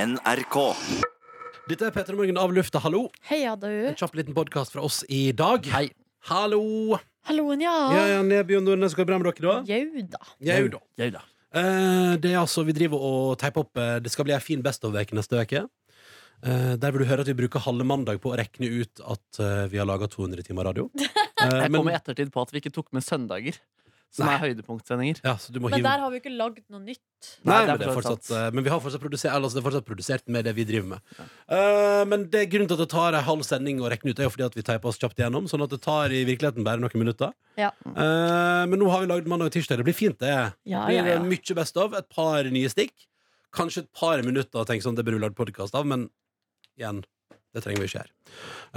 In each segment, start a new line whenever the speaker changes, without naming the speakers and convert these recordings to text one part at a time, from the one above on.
NRK.
Dette er Petter Morgen av lufta, hallo.
Heia du.
En kjapp liten podkast fra oss i dag.
Hei.
Hallo!
Halloen, ja.
Ja, ja, Nebjørn Nordnes, går det bra med dere, da?
Jau da.
Jau da.
Jau da.
Eh, det er altså, Vi driver og teiper opp eh, Det skal bli ei en fin Best of-uke neste uke. Eh, der vil du høre at vi bruker halve mandag på å rekne ut at eh, vi har laga 200 timer radio. Eh,
Jeg
men-
kom i ettertid på at vi ikke tok med søndager, som
Nei.
er høydepunktsendinger.
ja, så du må
Men
hive
der har vi jo ikke lagd noe nytt.
Nei,
Nei,
men,
det
det
er
er
fortsatt
fortsatt, eh, men vi har fortsatt produsert, altså det er fortsatt produsert med det vi driver med. Eh, men det er grunnen til at det tar en halv sending å rekne ut, er jo fordi at vi teiper oss kjapt igjennom. Sånn at det tar i virkeligheten bare noen minutter.
Ja.
Eh, men nå har vi lagd mandag og tirsdag. Det blir fint, det.
Ja,
Det
ja,
blir
ja.
mye best av. Et par nye stikk. Kanskje et par minutter og tenke sånn, det burde vi lagd podkast av, men igjen, det trenger vi ikke her.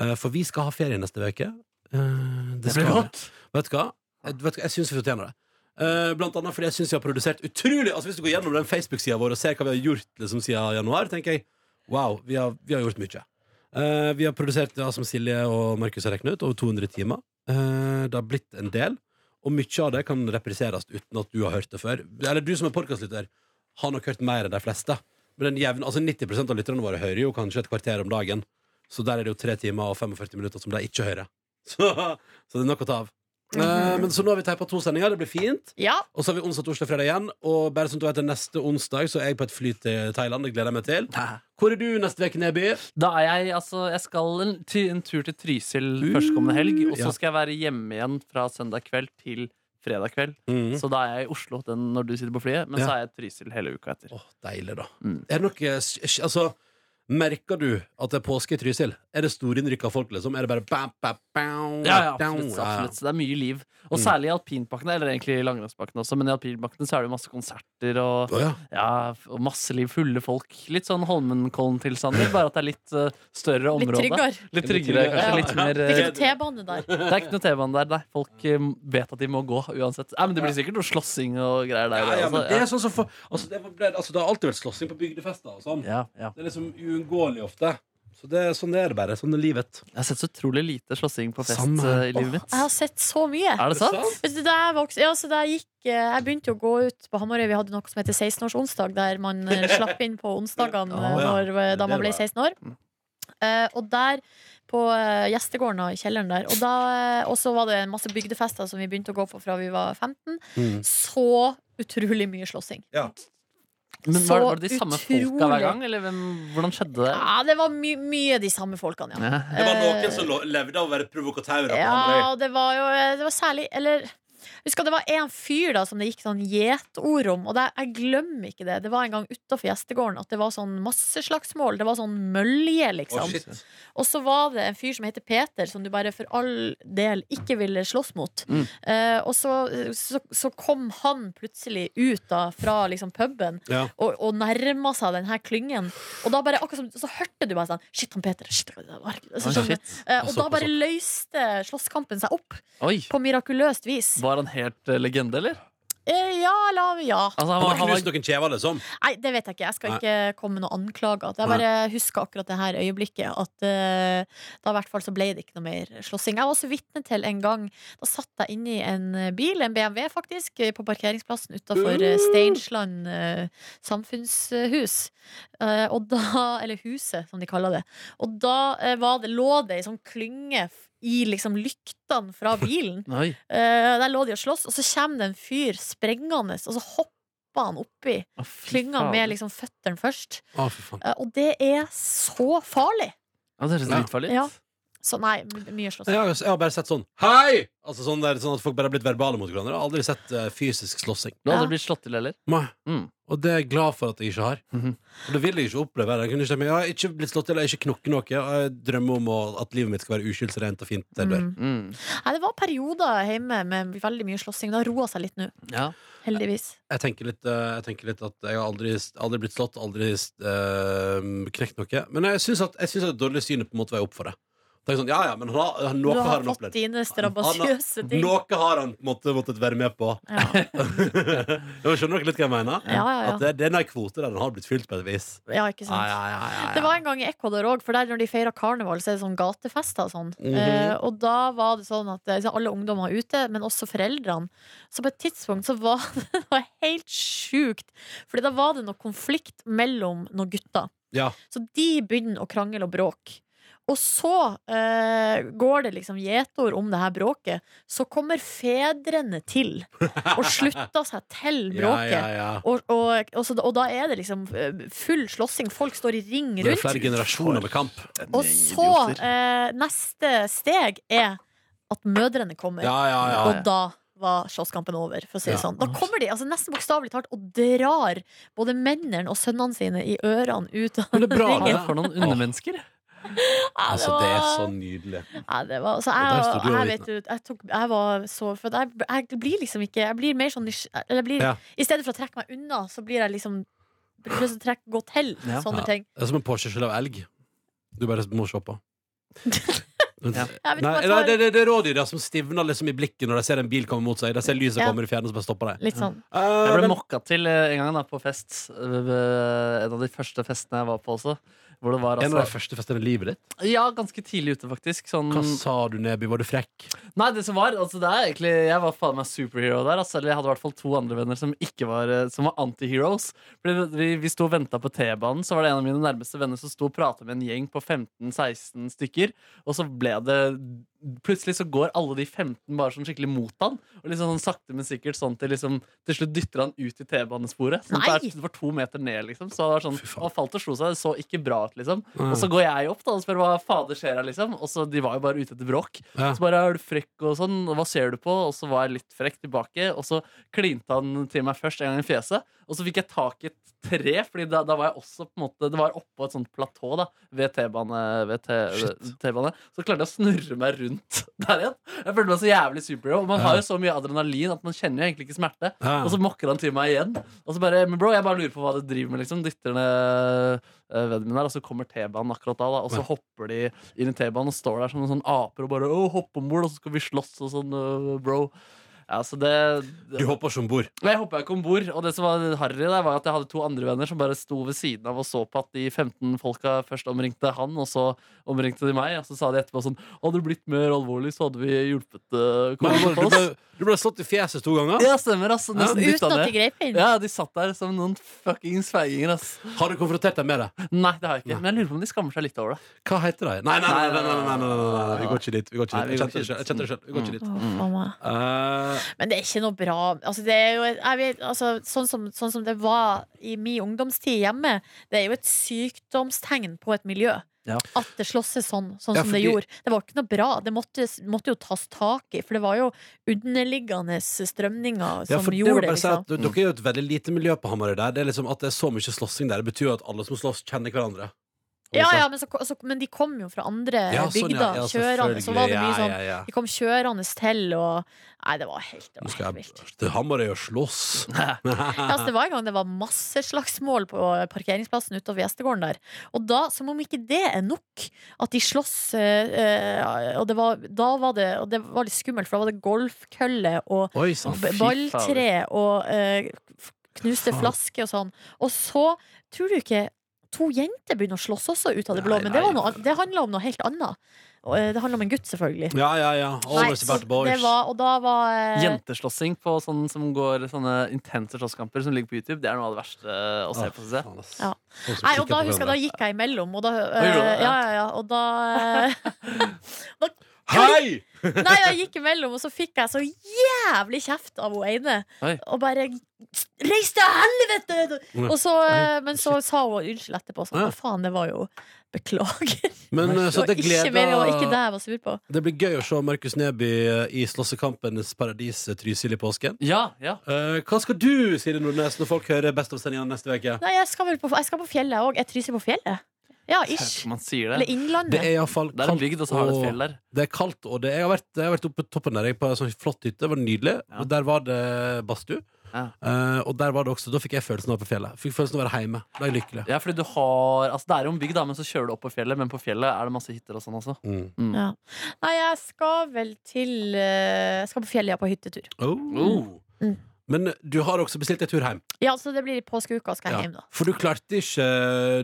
Eh, for vi skal ha ferie neste uke. Eh, det,
Det
skal
blir
vi.
godt.
Vet du hva? Jeg, vet du hva? jeg syns vi fortjener det. Eh, blant annet fordi jeg syns vi har produsert utrolig Altså Hvis du går gjennom den Facebook-sida vår og ser hva vi har gjort liksom, siden januar, tenker jeg wow, vi har, vi har gjort mye. Eh, vi har produsert ja, som Silje og Markus har regnet ut, over 200 timer. Eh, det har blitt en del, og mye av det kan repriseres uten at du har hørt det før. Eller du som er podkastlytter, har nok hørt mer enn de fleste. Men den jevne, altså 90 av lytterne våre hører jo kanskje et kvarter om dagen. Så der er det jo 3 timer og 45 minutter som de ikke hører. Så, så det er nok å ta av.
Mhm.
Eh, men så nå har vi teipa to sendinger. Det blir fint.
Ja,
Og så har vi onsdag, torsdag, fredag igjen. Og bare som du vet, neste onsdag så er jeg på et fly til Thailand. Det gleder jeg meg til. Hvor er du neste uke, Neby?
Da er jeg altså Jeg skal en, ty- en tur til Trysil førstkommende helg, og
ja.
så skal jeg være hjemme igjen fra søndag kveld til fredag kveld.
Mhm.
Så da er jeg i Oslo den, når du sitter på flyet, men
Ja.
så er jeg i Trysil hele uka etter.
Åh, deilig, da.
Mm.
Er det nok, eh, s- s- altså, merker du at det er påske i Trysil? Er det storinnrykk av folk, liksom? Er det bare bam, bam, bam,
Ja, ja,
down?
absolutt,
Ja, ja.
absolutt. Så det er mye liv. Og
Mm.
særlig i alpinbakkene, eller egentlig i langrennsbakkene også, men i alpinbakkene så er det jo masse konserter og
Å, ja.
Ja, og masse liv, fulle folk. Litt sånn Holmenkollen-tilstander, bare at det er litt eh, større
litt
område.
tryggere.
Litt tryggere,
Ja.
kanskje. Litt mer
Det
eh,
er ikke noe T-bane der.
Det er ikke noe T-bane der, nei. Folk eh, vet at de må gå uansett. Nei, men det blir sikkert noe slåssing og greier der.
Ja, ja, men
altså.
det er sånn som for, altså, det, var- det, altså, det har alltid vært slåssing på bygdefester og sånn.
ja, ja.
Det er liksom uunngåelig ofte. Så det, sånn er det bare. Sånn er livet.
Jeg har sett så utrolig lite slåssing på fest
Samme her.
eh, i
Åh,
livet mitt.
jeg har sett så mye.
Er det sant?
Vet du, da jeg, vokste, ja, så da jeg, gikk, eh, jeg begynte jo å gå ut på Hamarøy. Vi hadde noe som heter 16-årsonsdag, der man eh, slapp inn på onsdagene
Å,
eh,
ja. Mm.
når, eh, da man ble 16 år. Eh, og der på eh, gjestegården da, i kjelleren der. Og da, eh, og så var det masse bygdefester som vi begynte å gå på fra vi var 15.
Mm.
Så utrolig mye slåssing.
Men var, var det de
Så
samme folka
utrolig.
hver gang, eller hvem, hvordan skjedde det?
Ja, det var my mye de samme folkene, ja.
Ja.
Det var noen
Eh,
som lo- levde av å være provokatører. på
Ja,
andre øy.
og det var jo eh, det var særlig Eller husker det var en fyr da som det gikk sånn gjetord om, og det, jeg glemmer ikke det. Det var en gang utafor gjestegården at det var sånn masseslagsmål. Det var sånn mølje,
Å,
liksom.
shit.
og så var det en fyr som heter Peter, som du bare for all del ikke ville slåss mot.
Mm.
Eh, og så, så, så kom han plutselig ut da fra liksom puben
Ja.
og, og nærma seg den her klyngen. Og da bare akkurat som, så hørte du bare sånn Shit, han Peter. Shit, det var, så,
Oi,
skjønner du.
shit.
Eh,
Pass
og
opp,
da bare løste slåsskampen seg opp
Oi.
på mirakuløst vis.
Var han helt eh, legende, eller?
Eh, ja eller ja.
Altså,
Han har
han, var- han
knust
var,
noen kjever, liksom.
Nei, det vet jeg ikke. Jeg skal
Nei.
ikke komme med noen anklager. Jeg bare husker akkurat det her øyeblikket. At eh, da i hvert fall så ble det ikke noe mer slåssing. Jeg var også vitne til en gang Da satt jeg inni en bil, en BMW faktisk, eh, på parkeringsplassen utafor Steinsland eh, samfunnshus. Eh, og da Eller huset, som de kaller det. Og da eh, var det, lå det ei sånn klynge f- i liksom lyktene fra bilen.
Oi.
Eh, der lå de og sloss, og så kommer det en fyr sprengende, og så hopper han oppi
Å, fy
klynga
faen.
med liksom føttene først.
Å, for faen.
Eh, Og det er så farlig!
Ja, det høres
Ja.
dritfarlig ut.
liksom? Ja. Så nei, m- mye slåssing.
Jeg har, jeg har bare sett sånn Hei! Altså sånn, der, sånn at folk bare har blitt verbale mot hverandre. Jeg har aldri sett eh, fysisk slåssing.
Du hadde
Ja.
blitt slått til, eller?
Nei.
Mm.
Og det er jeg glad for at jeg ikke har.
Mhm.
Og det vil jeg ikke oppleve. Jeg, kunne ikke, tenkt meg, jeg har ikke blitt slått til, jeg har ikke knokket noe. Og jeg drømmer om å, at livet mitt skal være uskyldsrent og fint. til jeg dør.
Mm.
Mm.
Nei, det var perioder hjemme med veldig mye slåssing. Det har roa seg litt nå,
Ja.
heldigvis.
Jeg, tenker litt, eh, jeg tenker litt at jeg har aldri, aldri blitt slått, aldri eh, knekt noe. Men jeg syns at, jeg synes at det dårlige synet på en måte veier opp for det. Det er sånn, ja, ja, men han har, han-
Du
noe har
har
han
fått
opplevd.
dine strabasiøse ting.
Noe har han på en måte måttet være med på.
Ja.
Nå skjønner dere litt hva jeg mener?
Ja, ja, ja.
At det, det er en kvote der den har blitt fylt på et vis.
ja, ikke
Ja, ja,
sant.
ja, ja, ja.
Det var en gang i Ecuador òg, for der når de feirer karneval, så er det sånn gatefester og sånn.
Mhm.
Eh, og da var det sånn at eh, liksom, alle ungdommer var ute, men også foreldrene. Så på et tidspunkt så var det noe helt sjukt. For da var det noe konflikt mellom noen gutter.
Ja.
Så de begynner å krangle og bråke. Og så eh, går det liksom gjetord om det her bråket. Så kommer fedrene til og slutter seg til bråket.
Ja, ja, ja.
Og, og, og, så, og da er det liksom eh, full slåssing. Folk står i ring
Det er
rundt.
flere generasjoner med kamp.
Og så eh, neste steg er at mødrene kommer.
Ja, ja, ja.
Og da var slåsskampen over. For å si det
Ja.
sånn. Da kommer de altså nesten bokstavelig talt og drar både mennene og sønnene sine i ørene ut av
Men det er bra,
ringen.
det.
Faen, For noen undermennesker.
Ja,
Altså, det er så nydelig.
ja, det var, altså,
Og der
jeg,
sto du og
jeg,
vitne.
vet, jo, jeg, tok, jeg var så For jeg, jeg blir liksom ikke Jeg blir mer sånn nysg- eller jeg blir,
Ja.
I stedet for å trekke meg unna, så blir jeg liksom Prøver å trekke gå til
Ja.
sånne
Ja.
ting.
Det er som en påkjørsel av elg. Du bare må se på.
Ja.
Jeg vet ikke
Nei,
om jeg
nei,
tar-
det, det, det er rådyra som stivner liksom i blikket når de ser en bil komme mot seg. De ser lyset
Ja.
komme i fjernet, så bare stopper de.
Litt sånn.
Eh,
Jeg ble
men-
mokka til eh, en gang da, på fest. eh, ved En av de første festene jeg var på også. Hvor det var
en av de
altså
første festene i livet ditt.
Ja, ganske tidlig ute, faktisk.
Mm.
Sånn
Hva sa du, Neby? Var du frekk?
Nei, det som var, altså det er egentlig Jeg var faen meg superhero der. Altså, eller jeg hadde i hvert fall to andre venner som ikke var eh, Som var antiheroes. Fordi Vi, vi sto og venta på T-banen, så var det en av mine nærmeste venner som sto og prata med en gjeng på 15-16 stykker, og så ble det Plutselig så går alle de 15 bare sånn skikkelig mot han. Og liksom sånn sakte, men sikkert sånn til liksom Til slutt dytter han ut i T-banesporet. Sånn
Nei!
at det er- det var to meter ned, liksom. Så det var sånn,
Fy faen.
han falt og slo seg. Det så ikke bra ut, liksom.
Mm.
Og så går jeg opp da og spør hva fader skjer her, liksom. Og så de var jo bare ute etter bråk.
Ja.
Så bare er du frekk og sånn, og hva ser du på? Og så var jeg litt frekk tilbake, og så klinte han til meg først en gang i fjeset. Og så fikk jeg tak i et tre, Fordi da, da var jeg også på en måte Det var oppå et sånt platå da ved T-bane. Ved T-
Shit.
T-bane Så klarte jeg å snurre meg rundt der igjen. Jeg følte meg så jævlig superhero. Og man har
Ja.
jo så mye adrenalin at man kjenner jo egentlig ikke smerte.
Ja.
Og så mokker han til meg igjen. Og så bare, men bro, jeg bare lurer på hva du driver med, liksom. Dytter ned eh, vennen min her, og så kommer T-banen akkurat da, da. Og så
Ja.
hopper de inn i T-banen og står der som en sånn aper og bare Å, hopp om bord, og så skal vi slåss og sånn, øh, bro. Ja, så det,
Du hopper ikke om bord.
Men Jeg hoppa ikke om bord, og det som var harry, der, var at jeg hadde to andre venner som bare sto ved siden av og så på at de 15 folka først omringte han, og så omringte de meg, og så sa de etterpå sånn Hadde du blitt mer alvorlig, så hadde vi hjulpet uh,
Men
hverandre
Du
på
ble,
oss.
du ble slått i fjeset to ganger.
Ja, stemmer, altså.
Ja.
Nesten dyttet
Uten at
ned.
de grep inn.
Ja, de satt der som noen fuckings feiginger, ass.
Har du konfrontert deg med det?
Nei, det har jeg ikke. Men jeg lurer på om de skammer seg litt over det.
Hva heter de? Nei, nei, nei, nei, nei, nei, nei, nei, nei, nei. vi går ikke dit. Vi går ikke
Nei,
dit. Jeg kjente det
vi går ikke
selv. Jeg kjente det selv. Vi går ikke dit.
Å, faen meg.
Eh,
Men det er ikke noe bra altså, det er jo, et- jeg vet, altså, sånn, som, sånn som det var i min ungdomstid hjemme Det er jo et sykdomstegn på et miljø
Ja.
At det slåsses sånn, sånn
Ja,
som det
fordi-
gjorde Det var ikke noe bra, det måtte, måtte jo tas tak i For det var jo underliggende strømninger
ja,
som
for det må
gjorde
jeg
det
bare si
liksom.
at du- Dere er jo et veldig lite miljø på Hamarøy der. Det er liksom At det er så mye slåssing der, det betyr jo at alle som slåss, kjenner hverandre.
ja, ja, men, så, så, men de kom jo fra andre
Ja, sånn,
bygder
ja. Ja,
Kjørende, så var det
selvfølgelig.
mye
Ja,
sånn
ja, ja.
De kom kjørende til og Nei, det var helt, det
Nå
var
skal
helt
jeg
vilt
til Hamarøy og slåss.
Ja, altså, det var en gang det var masse slagsmål på eh, parkeringsplassen utover gjestegården der. Og da, som om ikke det er nok, at de slåss eh, eh, Og det var, da var det, og det var litt skummelt, for da var det golfkølle og
Oi sann.
b-
fy
balltre og eh, f- knuste
Faen.
flasker og sånn. Og så, tror du ikke To jenter begynner å slåss også ut av det blå,
Nei,
men det, var
nei.
noe, an- det handla om noe helt annet. Og, eh, Det handla om en gutt, selvfølgelig.
Ja, ja, ja. Always
Nei,
about
så
the boys.
Det var, og da var eh,
Jenteslåssing på sånn som går sånne intense slåsskamper som ligger på YouTube, det er noe av det verste å
Ah,
se på. Synes jeg.
Ah, Faen, ass.
Ja.
Folk som
Nei, og
kikker
da
på
husker jeg, da
hverandre.
gikk jeg imellom, og da
gjorde du
eh,
det,
Ja,
ja.
ja, ja, og da eh,
Hei!
Nei, jeg gikk imellom, og så fikk jeg så jævlig kjeft av hun ene.
Oi.
Og bare Reis til helvete! Og så, eh, men så sa hun unnskyld etterpå. Sånn,
Ja.
«Å, faen, det var jo Beklager.
Men eh, så
Det var
det
ikke mer, det var ikke det
gleder
jeg var sur på.
Det blir gøy å se Markus Neby eh, i Slåssekampenes paradis eh, Trysil i påsken.
Ja, ja.
Eh, hva skal du, Siri Nordnes, når folk hører Best of-sendinga neste uke?
Nei, jeg skal, vel på, jeg skal på fjellet òg. Jeg tryser på fjellet. Ja, ish.
Man sier
Eller
det.
Det
Innlandet.
er iallfall
Det er en
kaldt.
bygd, og så har du et
og-
fjell der.
Det er kaldt, og det, jeg, har vært, jeg har vært oppe på toppen der, jeg, på en sånn flott hytte. Det var nydelig.
Ja.
Og der var det badstue.
Ja.
Eh, og der var det også, da fikk jeg følelsen av å være på fjellet. Fikk følelsen av å være hjemme. Da er jeg lykkelig.
Ja, fordi du har Altså, det er jo en bygd, da, men så kjører du opp på fjellet, men på fjellet er det masse hytter og sånn også.
Mm.
Ja. Nei, jeg skal vel til eh, Jeg skal på fjellet, ja, på hyttetur.
Oh.
Oh.
Mm.
Men du har også bestilt en tur hjem.
Ja, så det blir i påskeuka skal jeg
Ja.
hjem, da.
For du klarte ikke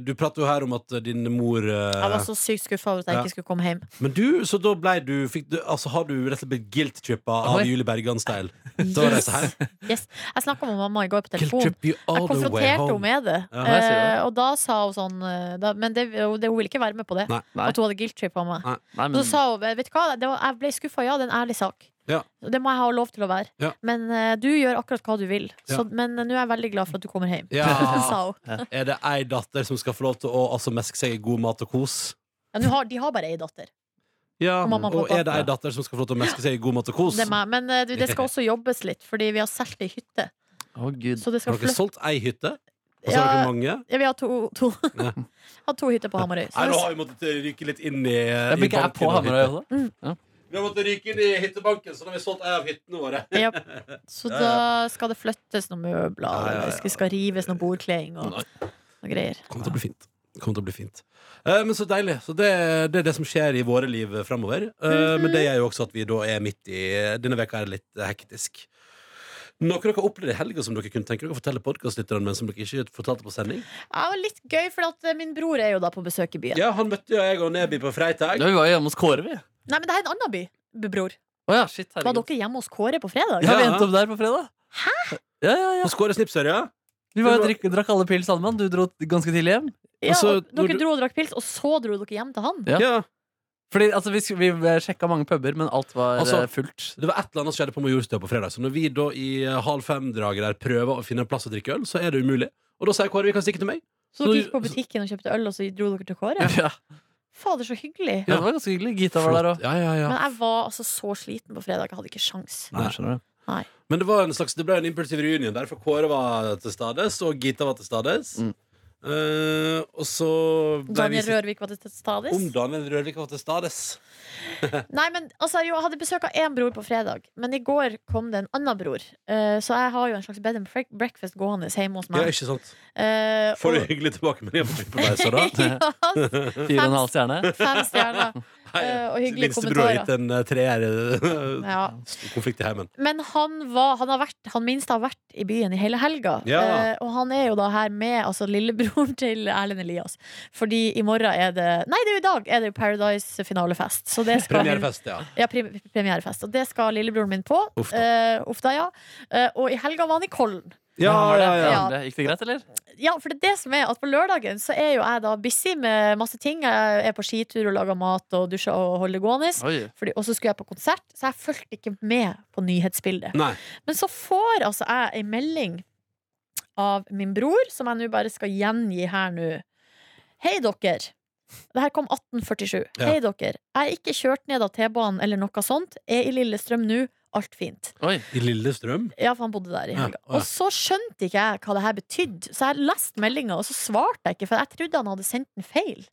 Du pratet jo her om at din mor eh,
Jeg var så sykt skuffa over at jeg
Ja.
ikke skulle komme hjem.
Men du, så da blei du, fikk du Altså har du rett og slett blitt guilt-trippa av
Oi.
Julie Bergan-style? Da var det så her.
Yes. Jeg snakka med mamma i går på telefon.
Guilt-trip you all the
Jeg
way
konfronterte henne
home.
med det.
Ja,
jeg ser det.
Eh, og da sa hun sånn eh, da, Men det, hun det- hun ville ikke være med på det.
Nei. Mm.
Nei.
At hun hadde guilt-trippa meg.
Nei,
Så sa hun vet du hva, det var, jeg ble skuffa, ja, det er en ærlig sak.
Ja.
Det må jeg ha lov til å være.
Ja.
Men eh, du gjør akkurat hva du vil.
Ja.
Så, men eh, nå er jeg veldig glad for at du kommer hjem.
Ja.
sa hun.
Er det ei datter som skal få lov til å altså, meske seg i god mat og kos?
Ja, nå har, de har bare ei datter.
Ja,
Og mamma og
og
pappa.
er det ei datter som skal få lov til å meske seg i god mat og kos?
Det er meg. Men eh, du, det skal også jobbes litt, fordi vi har solgt ei hytte.
Å, gud.
Så det skal
Har dere
flytte
solgt ei hytte? Og så
Ja.
har dere mange?
ja, Vi har to, to.
Ja.
har to hytter på Hamarøy. Så
Nei, nå
det-
har vi måttet eh, ryke litt inn i,
Jeg
i
blir ikke jeg på
av
Hamarøy
hytter.
også.
Vi har måttet ryke inn i hyttebanken, så da har vi solgt ei av hyttene våre.
Ja. Så
Ja,
da skal det flyttes noen møbler,
Ja, ja, ja.
og det skal- skal rives noen bordkleding og noe greier.
Kommer til å bli fint. Kommer til å bli fint. Eh, men så deilig. Så det, det er det som skjer i våre liv framover.
Mhm.
Men det gjør jo også at vi da er midt i Denne veka er litt eh, hektisk. Noe dere har opplevd i helga som dere kunne tenke dere å fortelle podkastlytterne, men som dere ikke fortalte på sending?
Ja, det var litt gøy, for at eh, min bror er jo da på besøk i byen.
Ja, han møtte jo jeg og Neby på fredag.
Ja, vi var jo hjemme hos Kåre, vi. Å
Nei, men det er en annen by, b- bror.
ja, shit,
Var
herregud.
dere hjemme hos Kåre på fredag?
Ja, vi
Ja.
endte opp der på fredag. Hæ? Ja, ja, ja.
Og skåret snipsør, ja.
Vi var, drakk, drakk alle pils sammen. Du dro ganske tidlig hjem.
Ja,
Altså,
og
når
dere
du-
dro og drakk pils, og så dro dere hjem til han?
Ja.
ja.
Fordi altså, vi, sk- vi sjekka mange puber, men alt var
Altså-
eh, fullt.
Det var et eller annet som skjedde på Majorstua på fredag. Så når vi da i eh, halv fem-draget der prøver å finne en plass å drikke øl, så er det umulig. Og da sier Kåre vi kan stikke til meg.
Så dere gikk på butikken og kjøpte øl, og så dro dere til
Ja.
Kåre?
Ja.
Fader, så hyggelig.
det var ganske hyggelig. Gita var der òg.
Ja, ja, ja.
Men jeg var altså så sliten på fredag, jeg hadde ikke sjans.
Nei.
skjønner du.
Men det, var en slags, det ble en impulsiv reunion der, for Kåre var til stades, og Gita var til stades.
Mm.
Eh, og så ble vi
Daniel Rørvik var til stades.
om Daniel Rørvik var til stades.
Nei, men altså, jo, Jeg hadde besøk av én bror på fredag, men i går kom det en annen bror. Eh, så jeg har jo en slags bed and break- breakfast gående hjemme hos
Ja,
meg.
ikke sant?
Eh, og-
Får du hyggelig tilbakemelding på TripAdvisor, da?
ja,
Fire og en halv stjerne.
fem stjerner. Eh, og hyggelige
Minstebror har
kommentarer.
gitt en eh, treer eh,
Ja.
konflikt i heimen.
Men han, var, han, har vært, han minste har vært i byen i hele helga.
Ja.
Eh, og han er jo da her med altså, lillebroren til Erlend Elias. Fordi i morgen er det Nei, det er jo i dag er det jo Paradise-finalefest. Så det skal
Premierefest, ja.
Ja, pre premierefest. Og det skal lillebroren min på.
Uff da.
Eh, uff da, ja. Eh, og i helga var han i Kollen.
Ja, ja, ja.
Ja.
Gikk det greit, eller?
Ja, for det er det som er at på lørdagen så er jo jeg da busy med masse ting. Jeg er på skitur og lager mat og dusjer og holder det gående.
Oi.
Fordi, og så skulle jeg på konsert, så jeg fulgte ikke med på nyhetsbildet.
Nei.
Men så får altså jeg ei melding av min bror, som jeg nå bare skal gjengi her nå. Hei, dere. Det her kom 1847.
Ja.
Hei, dere. Jeg er ikke kjørt ned av T-banen eller noe sånt. Er i Lillestrøm nå. Alt fint.
Oi.
I Lillestrøm?
Ja, for han bodde der i
Ja,
helga.
ja.
Og så skjønte ikke jeg hva det her betydde, så jeg leste meldinga, og så svarte jeg ikke, for jeg trodde han hadde sendt den feil.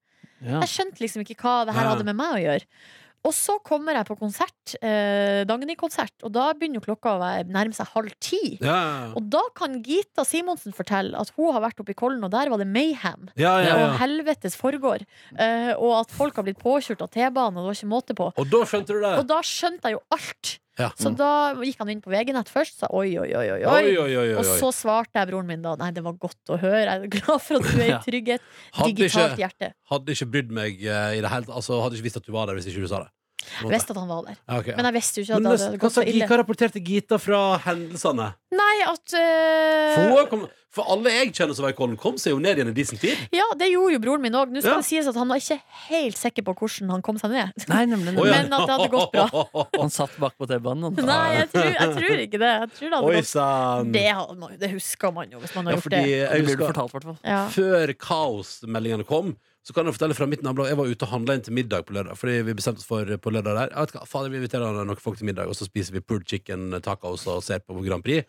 Ja.
Jeg skjønte liksom ikke hva det her
Ja.
hadde med meg å gjøre. Og så kommer jeg på konsert, eh, Dagny-konsert, og da begynner jo klokka å være- nærme seg halv ti.
Ja,
Og da kan Gita Simonsen fortelle at hun har vært oppe i Kollen, og der var det mayhem.
ja, ja.
Og
ja.
helvetes foregår. Eh, og at folk har blitt påkjørt av T-banen, og det var ikke måte på.
Og da skjønte du det?
Og da skjønte jeg jo alt.
Ja. mm.
Så da gikk han inn på VG-nett først, sa oi, oi, oi,
Oi,
oi. oi.
oi, oi, oi,
Og
oi.
så svarte jeg broren min da Nei, det var godt å høre. Jeg er glad for at du er i
Ja.
trygghet.
Hadde
Digitalt
ikke,
hjerte.
hadde ikke brydd meg eh, i det hele tatt. Altså, hadde ikke visst at du var der hvis ikke du sa det. På en måte.
Jeg visste at han var der.
Ja, ok, ja.
Men jeg visste jo ikke
Men
at det
nesten- altså,
hadde
Hva
gått
sa
så ille.
Gita rapporterte Gita fra hendelsene?
Nei, at eh,
For, hun kom, for alle jeg kjenner som var i Kollen, kom seg jo ned igjen i decent tid.
Ja, det gjorde jo broren min òg. Nå skal
Ja.
det sies at han var ikke helt sikker på hvordan han kom seg ned.
Nei, nemlig.
Å, ja.
nemlig.
Men at det hadde gått bra.
Han satt bak på T-banen. han.
Nei, jeg tror, jeg tror ikke det. Jeg tror det hadde
Oi
gått
sann.
det, hadde man- det husker man jo, hvis man har
Ja,
gjort
fordi
det.
Det
jeg
blir du
husker,
fortalt, i hvert fall.
Ja.
før kaosmeldingene kom, så kan jeg fortelle fra mitt nabolag Jeg var ute og handla inn til middag på lørdag. Fordi vi bestemte oss for på lørdag der Jeg vet ikke, fader, vi inviterer noen folk til middag, og så spiser vi pulled chicken tacos og ser på Grand Prix.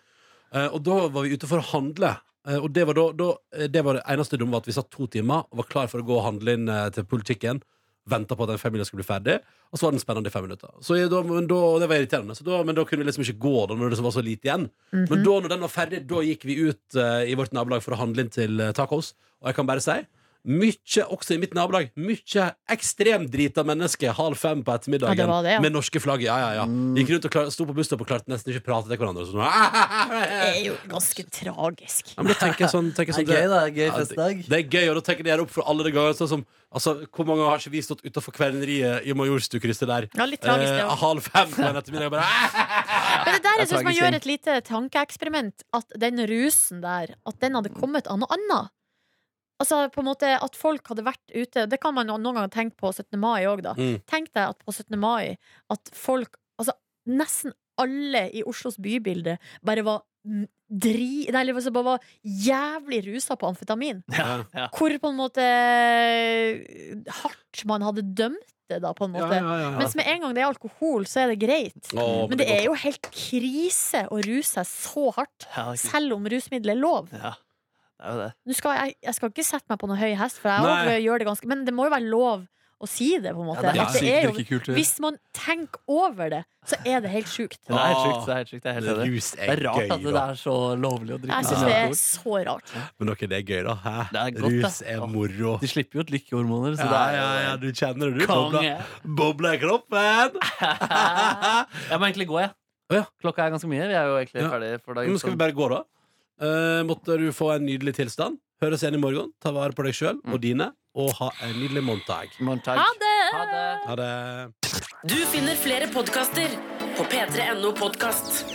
Eh, og da var vi ute for å handle. Eh, og det var da, da eh, Det var det eneste dumme var at vi satt to timer og var klar for å gå og handle inn eh, til pulled chicken. Venta på at den femmila skulle bli ferdig, og så var den spennende i fem minutter. Så jeg, da, men da, og det var irriterende, så da, men da kunne vi liksom ikke gå da når det var så lite igjen.
Mhm.
Men da når den var ferdig, da gikk vi ut eh, i vårt nabolag for å handle inn til eh, tacos. Og jeg kan bare si Mykje, også i mitt nabolag, mykje ekstremdrita mennesker halv fem på ettermiddagen
Ja, det var det, ja.
med norske flagg. Ja, ja, ja. Gikk rundt og klar, sto på busstopp og klarte nesten ikke å prate til hverandre. og Sånn.
Det er jo ganske tragisk.
Ja, men da tenker jeg sånn, tenker jeg
Det
sånn
er gøy, da. Gøy
Ja,
festdag.
Det, det er gøy, og da tenker jeg det opp for alle de gangene. Sånn som, altså, hvor mange har ikke vi stått utafor kverneriet i Majorstukrysset der?
Ja, litt tragisk, det
eh,
også.
halv fem på en ettermiddag. og Bare,
Men det der
Det er
jeg synes man
tragisk
gjør
ting.
et lite tankeeksperiment. At den rusen der, at den hadde kommet av noe annet. Altså på en måte At folk hadde vært ute Det kan man jo noen ganger tenke på 17. mai òg, da.
Mm.
Tenk deg at på 17. mai at folk Altså nesten alle i Oslos bybilde bare var mm, dri... Nei, eller altså, bare var jævlig rusa på amfetamin.
ja.
Hvor på en måte eh, hardt man hadde dømt det, da, på en måte. Mens med en gang det er alkohol, så er det greit.
Å,
Men det
går
er jo helt krise å ruse seg så hardt,
Ja, det er ikke-
selv om rusmiddel er lov.
ja. Det er jo det.
Nå skal jeg, jeg skal ikke sette meg på noe høy hest, for jeg
Nei.
også gjør det ganske Men det må jo være lov å si det, på en
Ja,
måte.
det er
Ja.
helt
At det
sykt
er jo,
drikkekultur.
hvis man tenker over det, så er det helt sjukt.
Det er helt sjukt. Det er helt sjukt. Det er helt enig.
Rus
Det er rart
gøy,
at det
da.
er så lovlig å drikke sånn
Jeg syns det er
alkohol.
så rart.
Men dere, det er gøy, da. Hæ?
Det er godt, da.
Rus er moro.
De slipper jo ut lykkehormoner, så
Ja,
det er
ja, ja, du kjenner det, du.
konge.
Bobla- Bobla i kroppen!
jeg må egentlig gå, jeg.
Å, ja.
Klokka er ganske mye. Vi er jo egentlig
Ja.
ferdige for dagen.
Men skal vi bare gå, da? Eh, måtte du få en nydelig tilstand. Høres igjen i morgen. Ta vare på deg sjøl og dine, og ha en nydelig morgendag.
Morgentag.
Ha det!
Ha det.
Ha det.
Du finner flere podkaster på p3.no podkast.